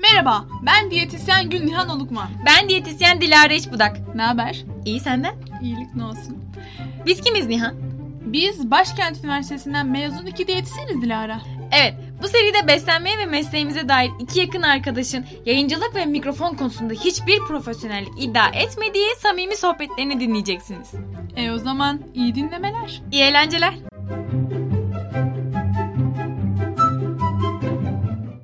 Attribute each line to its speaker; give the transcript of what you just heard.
Speaker 1: Merhaba, ben diyetisyen Gülnihan Olukman.
Speaker 2: Ben diyetisyen Dilara Budak.
Speaker 1: Ne haber?
Speaker 2: İyi senden?
Speaker 1: İyilik ne olsun?
Speaker 2: Biz kimiz Nihan?
Speaker 1: Biz Başkent Üniversitesi'nden mezun iki diyetisyeniz Dilara.
Speaker 2: Evet, bu seride beslenmeye ve mesleğimize dair iki yakın arkadaşın yayıncılık ve mikrofon konusunda hiçbir profesyonellik iddia etmediği samimi sohbetlerini dinleyeceksiniz.
Speaker 1: E o zaman iyi dinlemeler.
Speaker 2: İyi eğlenceler.